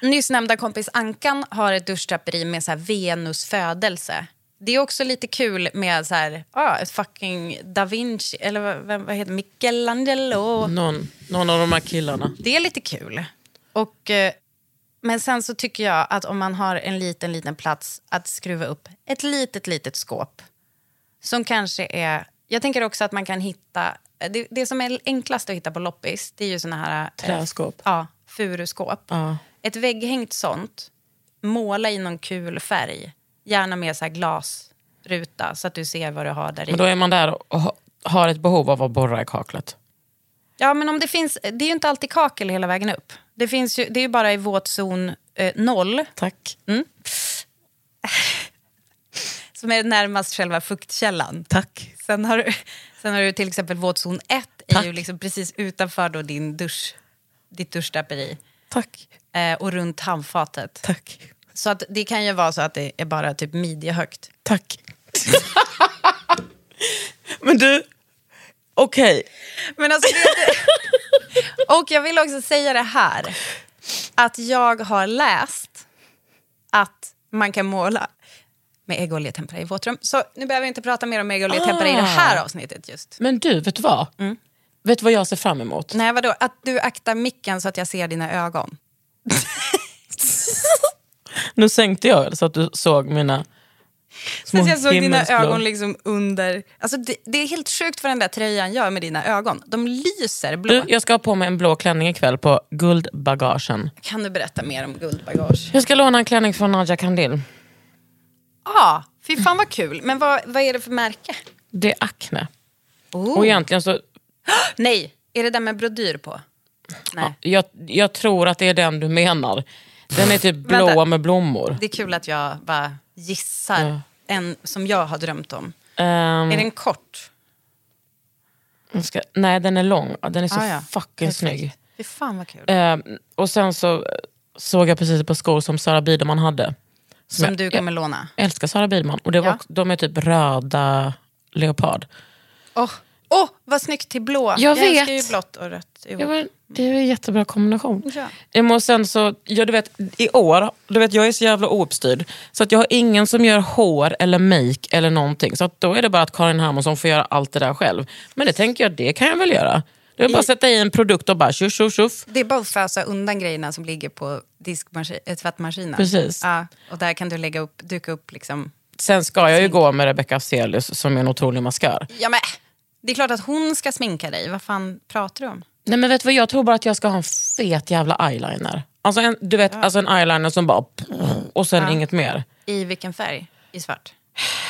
Speaker 3: det. (laughs) Nyss nämnda kompis Ankan har ett duschdraperi med så här Venus födelse. Det är också lite kul med så här, ah, ett fucking da Vinci, eller vad, vem- vad heter det? Michelangelo.
Speaker 4: Någon, någon av de här killarna.
Speaker 3: Det är lite kul. Och, eh, men sen så tycker jag att om man har en liten, liten plats att skruva upp ett litet, litet skåp som kanske är... Jag tänker också att man kan hitta... Det, det som är enklast att hitta på loppis, det är ju såna här... eh,
Speaker 4: Träskåp.
Speaker 3: Ja, furuskåp.
Speaker 4: Ja.
Speaker 3: Ett vägghängt sånt, måla i någon kul färg. Gärna med så här glasruta så att du ser vad du har där i.
Speaker 4: Men då är man där och ha- har ett behov av att borra i kaklet.
Speaker 3: Ja, men om det finns... Det är ju inte alltid kakel hela vägen upp. Det, finns ju, det är ju bara i våtzon eh, noll Mm.
Speaker 4: Tack.
Speaker 3: (laughs) som är närmast själva fuktkällan.
Speaker 4: Tack.
Speaker 3: Sen har du, sen har du till exempel våtzon 1, är ju liksom precis utanför då din dusch, ditt duschdraperi.
Speaker 4: Tack.
Speaker 3: Eh, och runt handfatet.
Speaker 4: Tack.
Speaker 3: Så att det kan ju vara så att det är bara typ midjehögt.
Speaker 4: Tack. (laughs) Men du, okej.
Speaker 3: Men alltså, det- och jag vill också säga det här, att jag har läst att man kan måla med ägg och oljetempera i våtrum. Så nu behöver vi inte prata mer om ägg och oljetempera i det
Speaker 4: Ah.
Speaker 3: här avsnittet just.
Speaker 4: Men du, vet du vad? Vet du vad jag ser fram emot?
Speaker 3: Mm. Nej, vadå? Att du aktar micken så att jag ser dina ögon.
Speaker 4: Nu sänkte jag det så att du såg mina
Speaker 3: Så
Speaker 4: små
Speaker 3: att jag såg dina
Speaker 4: himmelsblå-
Speaker 3: ögon liksom under... Alltså det, det är helt sjukt vad den där tröjan gör med dina ögon. De lyser blå.
Speaker 4: Du, jag ska ha på mig en blå klänning ikväll på Guldbagagen.
Speaker 3: Kan du berätta mer om guldbagage?
Speaker 4: Jag ska låna en klänning från Nadja Kandil.
Speaker 3: Ja, ah, fy fan vad kul. Men vad, vad är det för märke?
Speaker 4: Det är Acne.
Speaker 3: Oh.
Speaker 4: Och egentligen så, Typ.
Speaker 3: Nej, är det där med brodyr på? Nej.
Speaker 4: jag, jag tror att det är den du menar. Den är typ
Speaker 3: Vänta.
Speaker 4: blå med blommor.
Speaker 3: Det är kul att jag bara gissar en som jag har drömt om.
Speaker 4: Ehm,
Speaker 3: Är den kort?
Speaker 4: jag ska, nej, den är lång. Ja, Den är så
Speaker 3: Ah, ja.
Speaker 4: fucking snygg.
Speaker 3: Fy fan vad kul.
Speaker 4: Ehm, och sen så eh, såg jag precis på skor som Sara Biderman hade.
Speaker 3: som
Speaker 4: jag-
Speaker 3: du kommer låna.
Speaker 4: Jag älskar Sara Biderman. Och det var
Speaker 3: Ja.
Speaker 4: också, de är typ röda leopard.
Speaker 3: Åh, oh. oh, vad snyggt till blå.
Speaker 4: Jag
Speaker 3: älskar
Speaker 4: vet.
Speaker 3: ju blått och rött. ihop.
Speaker 4: Det var, det är en jättebra kombination.
Speaker 3: Ja.
Speaker 4: Ehm, Och sen så, ja, du vet, i år, du vet, jag är så jävla ouppstyrd. Så att jag har ingen som gör hår eller make eller någonting. Så att då är det bara att Karin Hermansson får göra allt det där själv. Men det tänker jag, det kan jag väl göra. Det är bara att sätta i en produkt och bara tjoff tjoff tjoff.
Speaker 3: Det är bara att fösa undan grejerna som ligger på diskmaskin, äh, tvättmaskinen.
Speaker 4: Precis.
Speaker 3: Ja, och där kan du lägga upp, duka upp liksom...
Speaker 4: Sen ska jag ju gå med Rebecca Afzelius som är en otrolig maskör.
Speaker 3: Ja, men, det är klart att hon ska sminka dig. Vad fan pratar du om?
Speaker 4: Nej men vet du vad, jag tror bara att jag ska ha en fet jävla eyeliner. Alltså en, du vet, alltså en eyeliner som bara... Och sen inget mer.
Speaker 3: I vilken färg? I svart?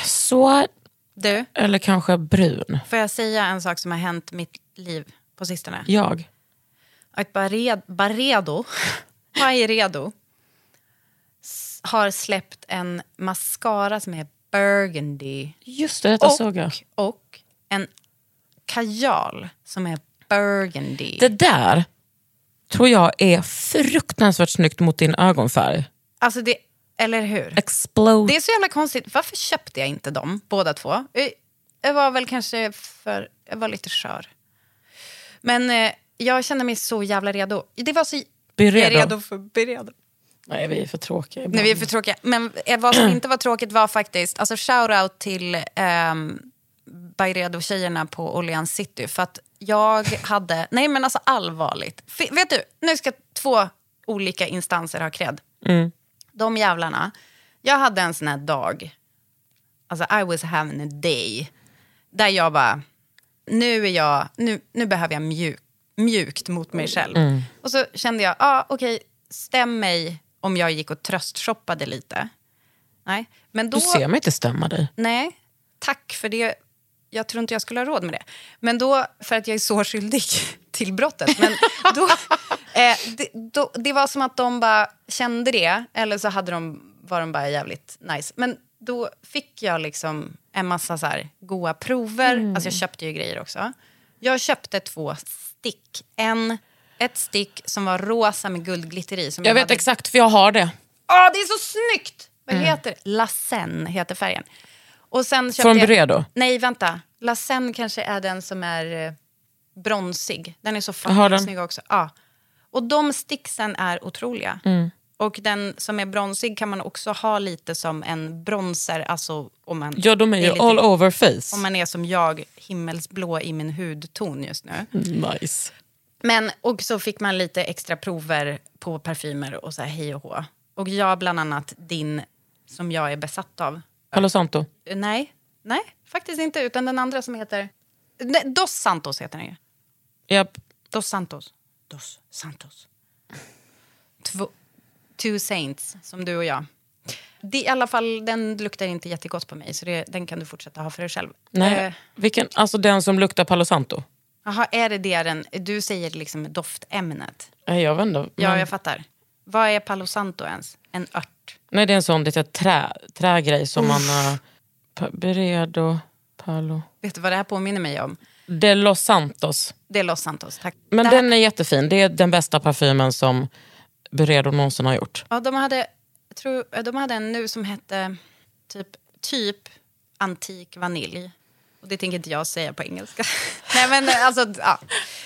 Speaker 4: Så,
Speaker 3: Du,
Speaker 4: eller kanske brun.
Speaker 3: får jag säga en sak som har hänt mitt liv på sistone?
Speaker 4: Jag.
Speaker 3: Att Bared, Baredo, (laughs) Pai Redo, s- har släppt en mascara som är burgundy.
Speaker 4: Just det, detta såg jag.
Speaker 3: och, och en kajal som är burgundy.
Speaker 4: Det där tror jag är fruktansvärt snyggt mot din ögonfärg.
Speaker 3: Alltså det, eller hur?
Speaker 4: Explode.
Speaker 3: Det är så jävla konstigt. Varför köpte jag inte dem, båda två? Eh, Jag var väl kanske för... Jag var lite skör. Men eh, jag kände mig så jävla redo. Det var så...
Speaker 4: Be
Speaker 3: Jag är
Speaker 4: redo.
Speaker 3: redo för... Be redo.
Speaker 4: Nej, vi är för tråkiga ibland.
Speaker 3: Nej, vi är för tråkiga. Men eh, vad som inte var tråkigt var faktiskt... Alltså shout-out till ehm, Byredo-tjejerna på Åhléns City. För att jag hade... Nej, men alltså allvarligt. F- vet du, nu ska två olika instanser ha cred. De jävlarna. Jag hade en sån här dag alltså I was having a day. Där jag bara, nu, är jag, nu, nu behöver jag mjuk, mjukt mot mig själv.
Speaker 4: Mm.
Speaker 3: Och så kände jag, ah, okej, stäm mig om jag gick och tröstshoppade lite. Nej, men då...
Speaker 4: Du ser mig inte stämma dig.
Speaker 3: Nej, tack för det. Jag tror inte jag skulle ha råd med det. Men då, för att jag är så skyldig (laughs) till brottet. Men då,
Speaker 4: (laughs)
Speaker 3: eh, det, då, det var som att de bara kände det, eller så hade de, var de bara jävligt nice. Men då fick jag liksom en massa så här goa prover.
Speaker 4: Mm.
Speaker 3: Alltså jag köpte ju grejer också. Jag köpte två stick. En, ett stick som var rosa med guldglitter i. Som
Speaker 4: Jag vet
Speaker 3: hade
Speaker 4: exakt, för jag har det.
Speaker 3: Åh, det är så snyggt! Vad
Speaker 4: Mm.
Speaker 3: heter det? Lassen heter färgen. Och sen köpte
Speaker 4: Från
Speaker 3: jag-
Speaker 4: Byredo?
Speaker 3: Nej, vänta. Lassen kanske är den som är eh, bronsig. Den är så
Speaker 4: Har
Speaker 3: fucking
Speaker 4: den?
Speaker 3: snygg också. Ja. Och de sticksen är otroliga.
Speaker 4: Mm.
Speaker 3: Och den som är bronsig kan man också ha lite som en bronzer. Alltså om man
Speaker 4: Ja, de är
Speaker 3: det
Speaker 4: ju
Speaker 3: lite-
Speaker 4: all over face.
Speaker 3: Om man är som jag, himmelsblå i min hudton just nu.
Speaker 4: Mm. Nice.
Speaker 3: Men, och så fick man lite extra prover på parfymer och så här hej och hå. Och jag bland annat din, som jag är besatt av.
Speaker 4: Palo Santo.
Speaker 3: Eh, Nej, nej, faktiskt inte. Utan den andra som heter... Nej, Dos Santos heter den ju.
Speaker 4: Japp.
Speaker 3: Dos Santos. Dos Santos. två, Two Saints, som du och jag. Det, I alla fall, den luktar inte jättegott på mig, så det, den kan du fortsätta ha för dig själv.
Speaker 4: Nej,
Speaker 3: Eh,
Speaker 4: vilken? Alltså den som luktar Palo Santo?
Speaker 3: Jaha, är det det den... Du säger liksom doftämnet.
Speaker 4: Nej, jag vet inte.
Speaker 3: Ja,
Speaker 4: Men-
Speaker 3: jag fattar. Vad är palo santo ens? En ört?
Speaker 4: Nej, det är en sån liten trä, trägrej som man... Uh, pa, Beredo, Palo...
Speaker 3: Vet du vad det här påminner mig om?
Speaker 4: De los Santos.
Speaker 3: Det är Los Santos, tack.
Speaker 4: Men
Speaker 3: det här,
Speaker 4: den är jättefin. Det är den bästa parfymen som Beredo någonsin har gjort.
Speaker 3: ja, de, hade, jag tror, de hade en nu som hette typ, typ antik vanilj. Och det tänker inte jag säga på engelska. (laughs) Nej, men eh, alltså... Ja.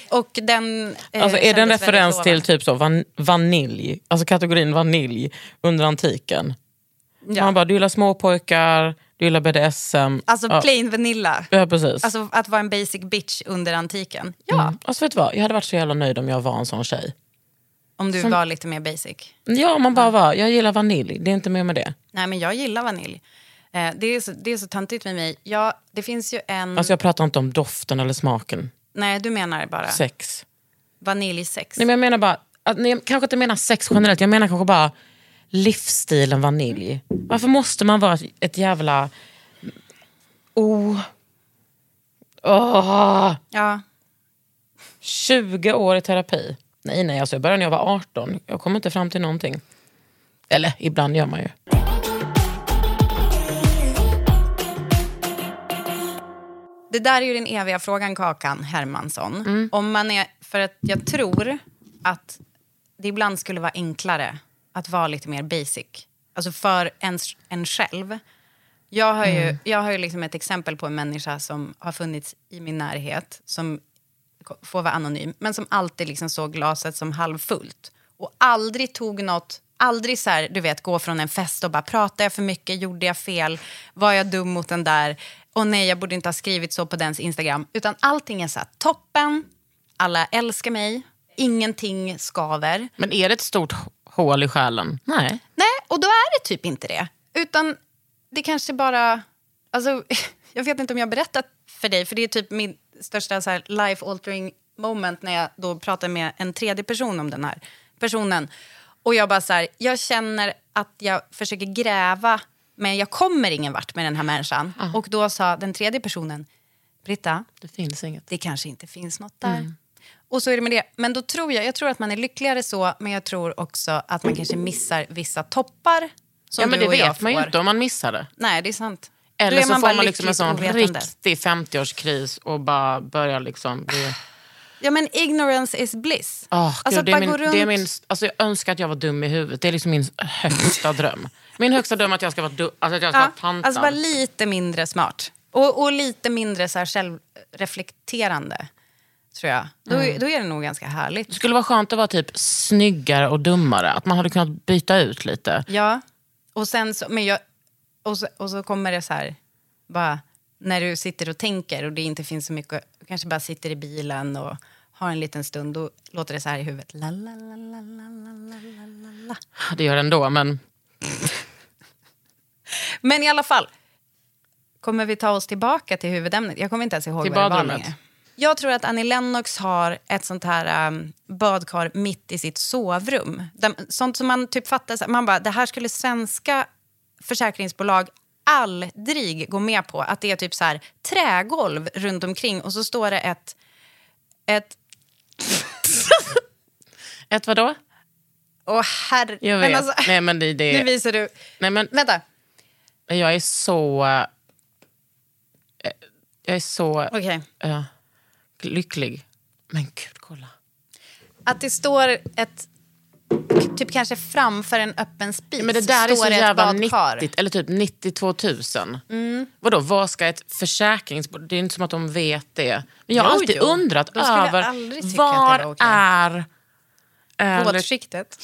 Speaker 3: Och den... eh,
Speaker 4: Alltså, är det en
Speaker 3: kändes
Speaker 4: referens
Speaker 3: väldigt
Speaker 4: till
Speaker 3: lovande.
Speaker 4: typ så, van, vanilj? Alltså kategorin vanilj under antiken?
Speaker 3: Ja.
Speaker 4: Man bara, du gillar småpojkar, du gillar BDSM.
Speaker 3: Alltså
Speaker 4: ja,
Speaker 3: plain vanilla.
Speaker 4: ja, precis.
Speaker 3: Alltså ah. att vara en basic bitch under antiken. Ja,
Speaker 4: Mm. Alltså, vet du vad? Jag hade varit så jävla nöjd om jag var en sån tjej.
Speaker 3: om du var lite mer basic.
Speaker 4: Ja, om man bara var, jag gillar vanilj, det är inte mer med det.
Speaker 3: Nej, men jag gillar vanilj. Eh, det, är så, det är så töntigt med mig. Ja, det finns ju en...
Speaker 4: Alltså jag pratar inte om doften eller smaken,
Speaker 3: Nej, du menar bara
Speaker 4: sex.
Speaker 3: vaniljsex.
Speaker 4: Nej, men jag menar bara, att, nej, jag kanske inte menar sex generellt, jag menar kanske bara livsstilen vanilj. Varför måste man vara ett, ett jävla... Oh. Åh.
Speaker 3: Ja,
Speaker 4: 20 år i terapi. Nej, nej, alltså jag började när jag var 18. Jag kom inte fram till någonting. Eller, ibland gör man ju.
Speaker 3: det där är ju den eviga frågan, Kakan Hermansson. Om man är, för att jag tror att det ibland skulle vara enklare att vara lite mer basic. Alltså för en, en själv. Jag har ju, jag har ju liksom ett exempel på en människa som har funnits i min närhet, som ko- får vara anonym, men som alltid liksom såg glaset som halvfullt. Och aldrig tog något, aldrig så här, du vet, gå från en fest och bara, pratade jag för mycket, gjorde jag fel, var jag dum mot den där, och nej, jag borde inte ha skrivit så på dens Instagram. Utan allting är så här, toppen, alla älskar mig, ingenting skaver.
Speaker 4: Men är det ett stort h- hål i själen? Nej.
Speaker 3: Nej, och då är det typ inte det. Utan det kanske bara... Alltså, (laughs) jag vet inte om jag har berättat för dig, för det är typ min största så här, life altering moment när jag då pratar med en tredje person om den här personen. Och jag bara så här, jag känner att jag försöker gräva men jag kommer ingen vart med den här människan. Och då sa den tredje personen, Britta,
Speaker 4: Det finns inget.
Speaker 3: det kanske inte finns något där.
Speaker 4: Mm.
Speaker 3: Och så är det med det. Men då tror jag, jag tror att man är lyckligare så, men jag tror också att man kanske missar vissa toppar som
Speaker 4: Ja, men
Speaker 3: du
Speaker 4: det
Speaker 3: och jag
Speaker 4: vet
Speaker 3: får.
Speaker 4: man ju inte om man missar det.
Speaker 3: Nej, det är sant. Då
Speaker 4: Eller
Speaker 3: är
Speaker 4: så får
Speaker 3: bara
Speaker 4: man liksom en
Speaker 3: lyckligt
Speaker 4: sån
Speaker 3: ovetande.
Speaker 4: riktig 50-årskris och bara börjar liksom bli...
Speaker 3: Ja, men ignorance is bliss.
Speaker 4: Ah,
Speaker 3: alltså
Speaker 4: Gud,
Speaker 3: att
Speaker 4: det är
Speaker 3: bara
Speaker 4: min,
Speaker 3: gå runt...
Speaker 4: det är min, alltså jag önskar att jag var dum i huvudet. Det är liksom min högsta dröm. Min högsta dröm är att jag ska vara, du, alltså att jag ska
Speaker 3: ja,
Speaker 4: vara pantad.
Speaker 3: alltså bara lite mindre smart. Och, och lite mindre så här självreflekterande, tror jag. Då,
Speaker 4: Mm.
Speaker 3: då är det nog ganska
Speaker 4: det
Speaker 3: härligt.
Speaker 4: skulle vara skönt att vara typ snyggare och dummare. Att man hade kunnat byta ut lite.
Speaker 3: Ja, och sen så, men jag, och så, och så kommer det så här, bara när du sitter och tänker och det inte finns så mycket, du kanske bara sitter i bilen och har en liten stund, då låter det så här i huvudet. La, la, la, la, la, la, la, la, la.
Speaker 4: Det gör det ändå, men
Speaker 3: Men i alla fall, kommer vi ta oss tillbaka till huvudämnet? Jag kommer inte ens ihåg
Speaker 4: Till
Speaker 3: vad det var
Speaker 4: badrummet.
Speaker 3: längre. Jag tror att Annie Lennox har ett sånt här um, badkar mitt i sitt sovrum. De, sånt som man typ fattar, så- man bara, det här skulle svenska försäkringsbolag aldrig gå med på. Att det är typ så här trägolv runt omkring och så står det ett, ett
Speaker 4: Ett vadå?
Speaker 3: åh herre...
Speaker 4: Jag
Speaker 3: men
Speaker 4: vet.
Speaker 3: alltså-
Speaker 4: nej, men det,
Speaker 3: (laughs) nu
Speaker 4: det,
Speaker 3: visar du.
Speaker 4: nej, men
Speaker 3: Vänta.
Speaker 4: jag är så... eh, Jag är så
Speaker 3: Okej.
Speaker 4: eh, lycklig. Men gud, kolla.
Speaker 3: Att det står ett... Typ kanske framför en öppen spis.
Speaker 4: Men det där är
Speaker 3: står
Speaker 4: så
Speaker 3: ett
Speaker 4: jävla
Speaker 3: badkar.
Speaker 4: 90, eller typ 92 000. Vadå, vad ska ett försäkringsbolag... Det är inte som att de vet det. Men jag har
Speaker 3: Jo,
Speaker 4: alltid
Speaker 3: jo.
Speaker 4: undrat
Speaker 3: De skulle
Speaker 4: över
Speaker 3: aldrig tycka
Speaker 4: var
Speaker 3: att det var okej.
Speaker 4: är... eh,
Speaker 3: Våtskiktet.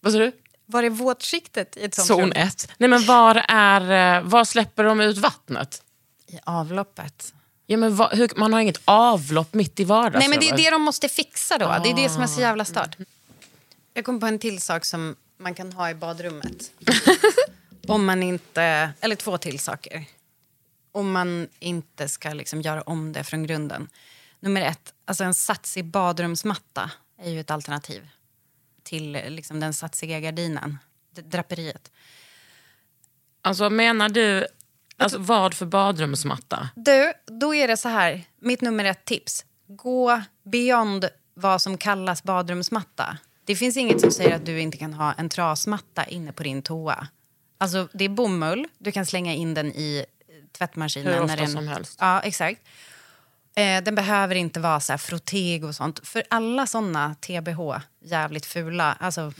Speaker 4: vad sa du?
Speaker 3: Var är våtskiktet i ett sånt
Speaker 4: Zon
Speaker 3: rum?
Speaker 4: 1. Nej men var är... eh, Var släpper de ut vattnet?
Speaker 3: I avloppet.
Speaker 4: Ja, men vad- hur, man har inget avlopp mitt i vardagsrummet.
Speaker 3: Nej, men det är det de måste fixa då. Det är det som är så jävla stört. Jag kom på en till sak som man kan ha i (laughs) badrummet. om man inte... Eller två till saker. Om man inte ska liksom göra om det från grunden. Nummer ett, alltså en satsig badrumsmatta är ju ett alternativ. till eh, liksom, den satsiga gardinen, d- draperiet.
Speaker 4: Alltså menar du, alltså, vad för badrumsmatta?
Speaker 3: Du, då är det så här, mitt nummer ett tips. Gå beyond vad som kallas badrumsmatta. Det finns inget som säger att du inte kan ha en trasmatta inne på din toa. Alltså, det är bomull, du kan slänga in den i eh, tvättmaskinen.
Speaker 4: Hur ofta
Speaker 3: den,
Speaker 4: som helst.
Speaker 3: Ja, exakt. Eh, den behöver inte vara så här frottig och sånt. För alla såna TBH, jävligt fula, alltså...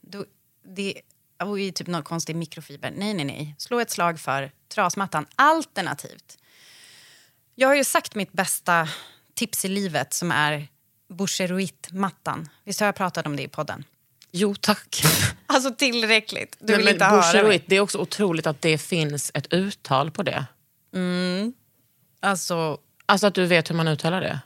Speaker 3: Då, det och i typ någon konstig mikrofiber. Nej, nej, nej. Slå ett slag för trasmattan. Alternativt. Jag har ju sagt mitt bästa tips i livet som är Boucheroit-mattan. Visst har jag pratat om det i podden?
Speaker 4: Jo (laughs) tack.
Speaker 3: Alltså tillräckligt. Du
Speaker 4: Nej,
Speaker 3: vill
Speaker 4: men
Speaker 3: inte höra mig.
Speaker 4: Boucheroid, det är också otroligt att det finns ett uttal på det.
Speaker 3: Alltså,
Speaker 4: Alltså att du vet hur man uttalar det.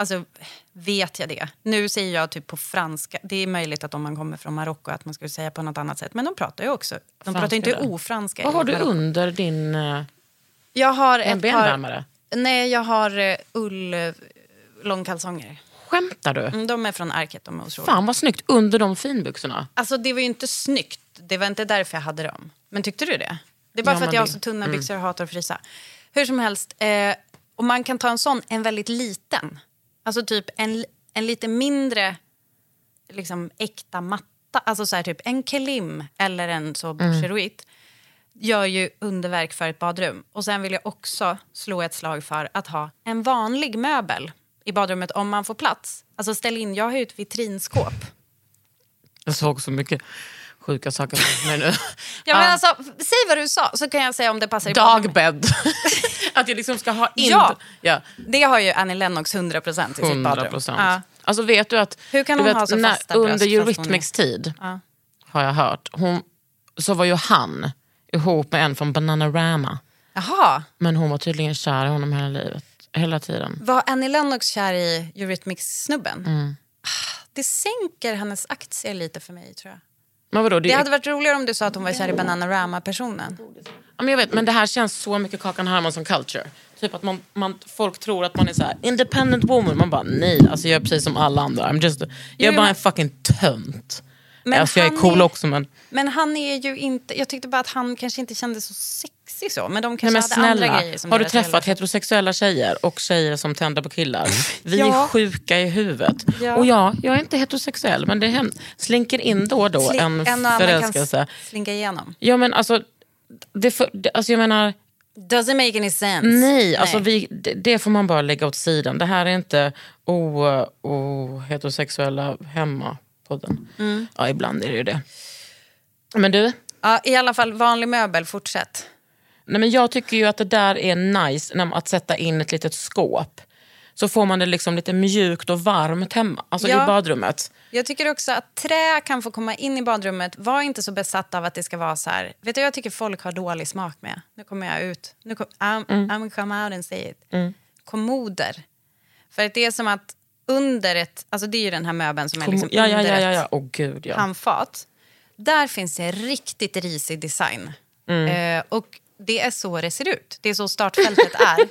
Speaker 3: Alltså, vet jag det? Nu säger jag typ på franska. Det är möjligt att om man kommer från Marocko att man skulle säga på något annat sätt. Men de pratar ju också. De pratar ju inte
Speaker 4: där.
Speaker 3: ofranska.
Speaker 4: Vad
Speaker 3: i
Speaker 4: har du
Speaker 3: Marocko.
Speaker 4: under din... eh,
Speaker 3: Jag har
Speaker 4: En
Speaker 3: ett par...
Speaker 4: benvärmare?
Speaker 3: Nej, jag har eh, ull... eh, Långkalsonger.
Speaker 4: Skämtar du?
Speaker 3: Mm, De är från Arket, de är otroliga.
Speaker 4: Fan vad snyggt, under de finbyxorna.
Speaker 3: Alltså det var ju inte snyggt. Det var inte därför jag hade dem. Men tyckte du det? Det är bara
Speaker 4: Ja,
Speaker 3: för
Speaker 4: men
Speaker 3: att jag har
Speaker 4: det-
Speaker 3: så tunna byxor och hatar att frysa. Hur som helst, eh, och man kan ta en sån, en väldigt liten. Alltså typ en, en lite mindre liksom äkta matta. Alltså så här, typ en kelim eller en så boucheroit gör ju underverk för ett badrum. Och sen vill jag också slå ett slag för att ha en vanlig möbel i badrummet om man får plats. Alltså ställ in, jag har ju ett vitrinskåp.
Speaker 4: Jag såg så mycket sjuka saker framför mig nu.
Speaker 3: Ja, men alltså, säg vad du sa, så kan jag säga om det passar i podden. (laughs)
Speaker 4: (laughs) Dagbädd. att jag liksom ska ha in...
Speaker 3: Ja.
Speaker 4: ja.
Speaker 3: Det har ju Annie Lennox 100 procent i sitt
Speaker 4: 100
Speaker 3: badrum.
Speaker 4: procent.
Speaker 3: Ja.
Speaker 4: Alltså vet du att...
Speaker 3: Hur kan
Speaker 4: du
Speaker 3: hon
Speaker 4: vet,
Speaker 3: ha så
Speaker 4: när-
Speaker 3: fasta bröst
Speaker 4: Under
Speaker 3: fast hon är-
Speaker 4: Eurythmics tid,
Speaker 3: Ja.
Speaker 4: har jag hört, hon, så var ju han ihop med en från Bananarama.
Speaker 3: Jaha,
Speaker 4: Men hon var tydligen kär i honom hela livet. Hela tiden.
Speaker 3: var Annie Lennox kär i Eurythmics-snubben?
Speaker 4: Mm.
Speaker 3: Ah, Det sänker hennes aktier lite för mig tror jag.
Speaker 4: Men vadå, det,
Speaker 3: Det
Speaker 4: är
Speaker 3: hade varit roligare om du sa att hon var kär i Bananarama-personen.
Speaker 4: Ja, men jag vet, men det här känns så mycket Kakan Hermansson culture. Typ att man, man, folk tror att man är så här independent woman. Man bara nej, alltså jag är precis som alla andra. I'm just, jag är
Speaker 3: Jo,
Speaker 4: bara
Speaker 3: men-
Speaker 4: en fucking tönt.
Speaker 3: Men
Speaker 4: alltså jag är
Speaker 3: han
Speaker 4: cool
Speaker 3: är-
Speaker 4: också men,
Speaker 3: Men han är ju inte, jag tyckte bara att han kanske inte kände så sexig så. Men de kanske
Speaker 4: nej, men
Speaker 3: hade
Speaker 4: snälla.
Speaker 3: andra grejer. Som
Speaker 4: Har du
Speaker 3: deras
Speaker 4: träffat
Speaker 3: föräldrar-
Speaker 4: heterosexuella tjejer och tjejer som tänder på killar? Vi
Speaker 3: Ja.
Speaker 4: är sjuka i huvudet.
Speaker 3: Ja.
Speaker 4: Och ja, jag är inte heterosexuell men det hän- slinker in då och då
Speaker 3: Sli-
Speaker 4: en,
Speaker 3: en och annan kan
Speaker 4: förälskelse.
Speaker 3: s- slinka igenom.
Speaker 4: Ja men alltså, det för, det, alltså jag menar
Speaker 3: Doesn't make any sense.
Speaker 4: Nej, Alltså vi, det, det får man bara lägga åt sidan. Det här är inte o, o, heterosexuella hemma-podden.
Speaker 3: Mm.
Speaker 4: Ja, ibland är det ju det. Men du,
Speaker 3: ja, I alla fall, vanlig möbel, fortsätt.
Speaker 4: nej men jag tycker ju att det där är nice, när, man- att sätta in ett litet skåp. Så får man det liksom lite mjukt och varmt hemma, alltså
Speaker 3: Ja.
Speaker 4: i badrummet.
Speaker 3: Jag tycker också att trä kan få komma in i badrummet. Var inte så besatt av att det ska vara så här. Vet du, jag tycker folk har dålig smak med. Nu kommer jag ut. Nu kom, I'm,
Speaker 4: Mm.
Speaker 3: I'm gonna come out and say it. Kommoder. För att det är som att under ett... Alltså det är ju den här möbeln som är liksom
Speaker 4: ja, ja,
Speaker 3: under
Speaker 4: ja,
Speaker 3: ett
Speaker 4: ja, ja. Åh gud ja.
Speaker 3: handfat. Där finns det riktigt risig design.
Speaker 4: Mm.
Speaker 3: Eh, och det är så det ser ut. Det är så startfältet
Speaker 4: (laughs)
Speaker 3: är.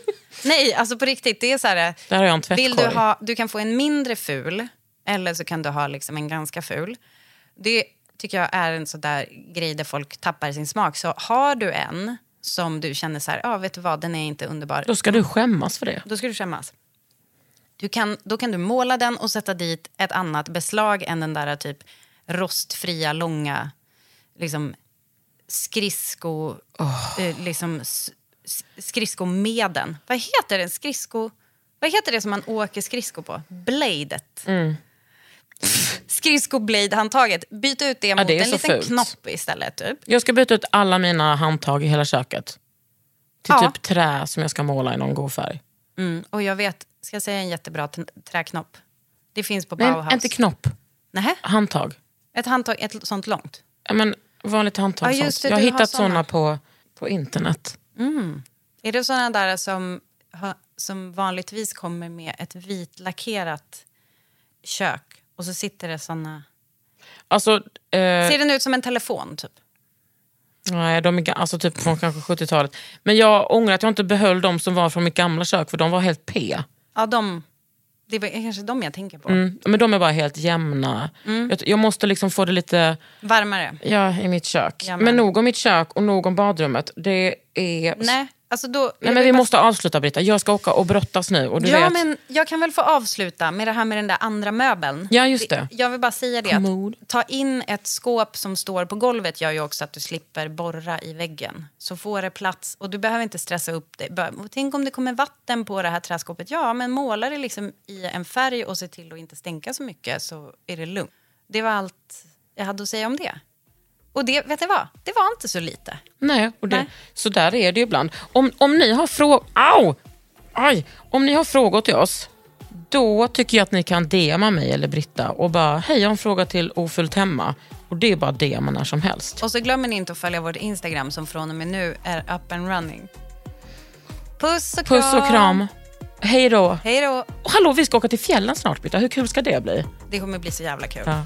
Speaker 3: Nej, alltså på riktigt. Det är så här,
Speaker 4: Där har jag en
Speaker 3: vill du,
Speaker 4: tvättkorg.
Speaker 3: ha, du kan få en mindre ful eller så kan du ha liksom en ganska ful. Det tycker jag är en sån där grej där folk tappar sin smak. Så har du en som du känner så här, ja vet du vad, den är inte underbar.
Speaker 4: Då ska du skämmas för det.
Speaker 3: Då ska du skämmas. Du kan, då kan du måla den och sätta dit ett annat beslag än den där typ rostfria, långa liksom, skridsko... Eh, liksom, s- s- skridskomedeln. Vad heter den? Skridsko... Vad heter det som man åker skridsko på? Bladet. Mm. Skridskoblade-handtaget. Byt ut det mot
Speaker 4: det är
Speaker 3: en
Speaker 4: så
Speaker 3: liten
Speaker 4: fult.
Speaker 3: knopp istället. Typ.
Speaker 4: Jag ska byta ut alla mina handtag i hela köket. Till
Speaker 3: Ja.
Speaker 4: typ trä som jag ska måla i någon god färg.
Speaker 3: Mm. Och jag vet, ska jag säga en jättebra t- träknopp? Det finns på
Speaker 4: Nej,
Speaker 3: Bauhaus.
Speaker 4: inte knopp.
Speaker 3: Nähä?
Speaker 4: Handtag.
Speaker 3: Ett handtag, ett sånt långt.
Speaker 4: Ja, men vanligt handtag.
Speaker 3: Ja,
Speaker 4: sånt.
Speaker 3: just det,
Speaker 4: jag har
Speaker 3: du har
Speaker 4: hittat
Speaker 3: såna.
Speaker 4: såna på, på internet.
Speaker 3: Är det såna där som, ha- som vanligtvis kommer med ett vitlackerat kök och så sitter det såna...
Speaker 4: Alltså, eh,
Speaker 3: Ser den ut som en telefon typ?
Speaker 4: nej, de är, ga- alltså typ från kanske 70-talet. Men jag ångrar att jag inte behöll de som var från mitt gamla kök för de var helt P.
Speaker 3: Ja, de... Det är kanske de jag tänker på.
Speaker 4: Mm. Men de är bara helt jämna.
Speaker 3: Mm.
Speaker 4: Jag, jag måste liksom få det lite
Speaker 3: Varmare.
Speaker 4: ja, i mitt kök.
Speaker 3: Ja, men-
Speaker 4: men. nog om mitt kök och nog om badrummet. Det är...
Speaker 3: Nej, alltså då... jag
Speaker 4: Nej, men
Speaker 3: vill
Speaker 4: vi
Speaker 3: bara-
Speaker 4: måste avsluta Britta. Jag ska åka och brottas nu. Och du
Speaker 3: Ja,
Speaker 4: vet,
Speaker 3: men jag kan väl få avsluta med det här med den där andra möbeln.
Speaker 4: Ja, just det.
Speaker 3: Jag vill bara säga det.
Speaker 4: Kommod.
Speaker 3: Att ta in ett skåp som står på golvet gör ju också att du slipper borra i väggen. Så får det plats och du behöver inte stressa upp dig. Bara, "Och Tänk om det kommer vatten på det här träskåpet. Ja, men måla det liksom i en färg och se till att inte stänka så mycket så är det lugnt. Det var allt jag hade att säga om det. Och det, vet du vad? Det var inte så lite.
Speaker 4: Nej, och det,
Speaker 3: Nej.
Speaker 4: så där är det ju ibland. Om, om ni har frågor... Au! Aj! Om ni har frågor till oss, då tycker jag att ni kan DMa mig eller Britta och bara, hej jag har en fråga till Ofullt Hemma. Och det är bara DMa när som helst.
Speaker 3: Och så glömmer ni inte att följa vårt Instagram som från och med nu är up and running. Puss och kram.
Speaker 4: Puss och kram. Hej då.
Speaker 3: Hej då.
Speaker 4: Och hallå, vi ska åka till fjällen snart Britta. Hur kul ska det bli?
Speaker 3: Det kommer bli så jävla kul.
Speaker 4: Ja.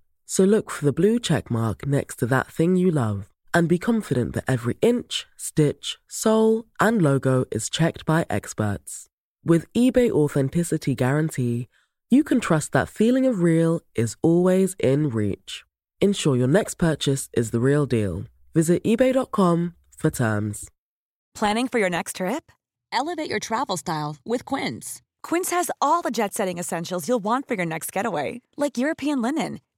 Speaker 2: So look for the blue check mark next to that thing you love and be confident that every inch, stitch, sole, and logo is checked by experts. With eBay Authenticity Guarantee, you can trust that feeling of real is always in reach. Ensure your next purchase is the real deal. Visit eBay.com for terms.
Speaker 7: Planning for your next trip?
Speaker 8: Elevate your travel style with Quince.
Speaker 7: Quince has all the jet setting essentials you'll want for your next getaway, like European linen,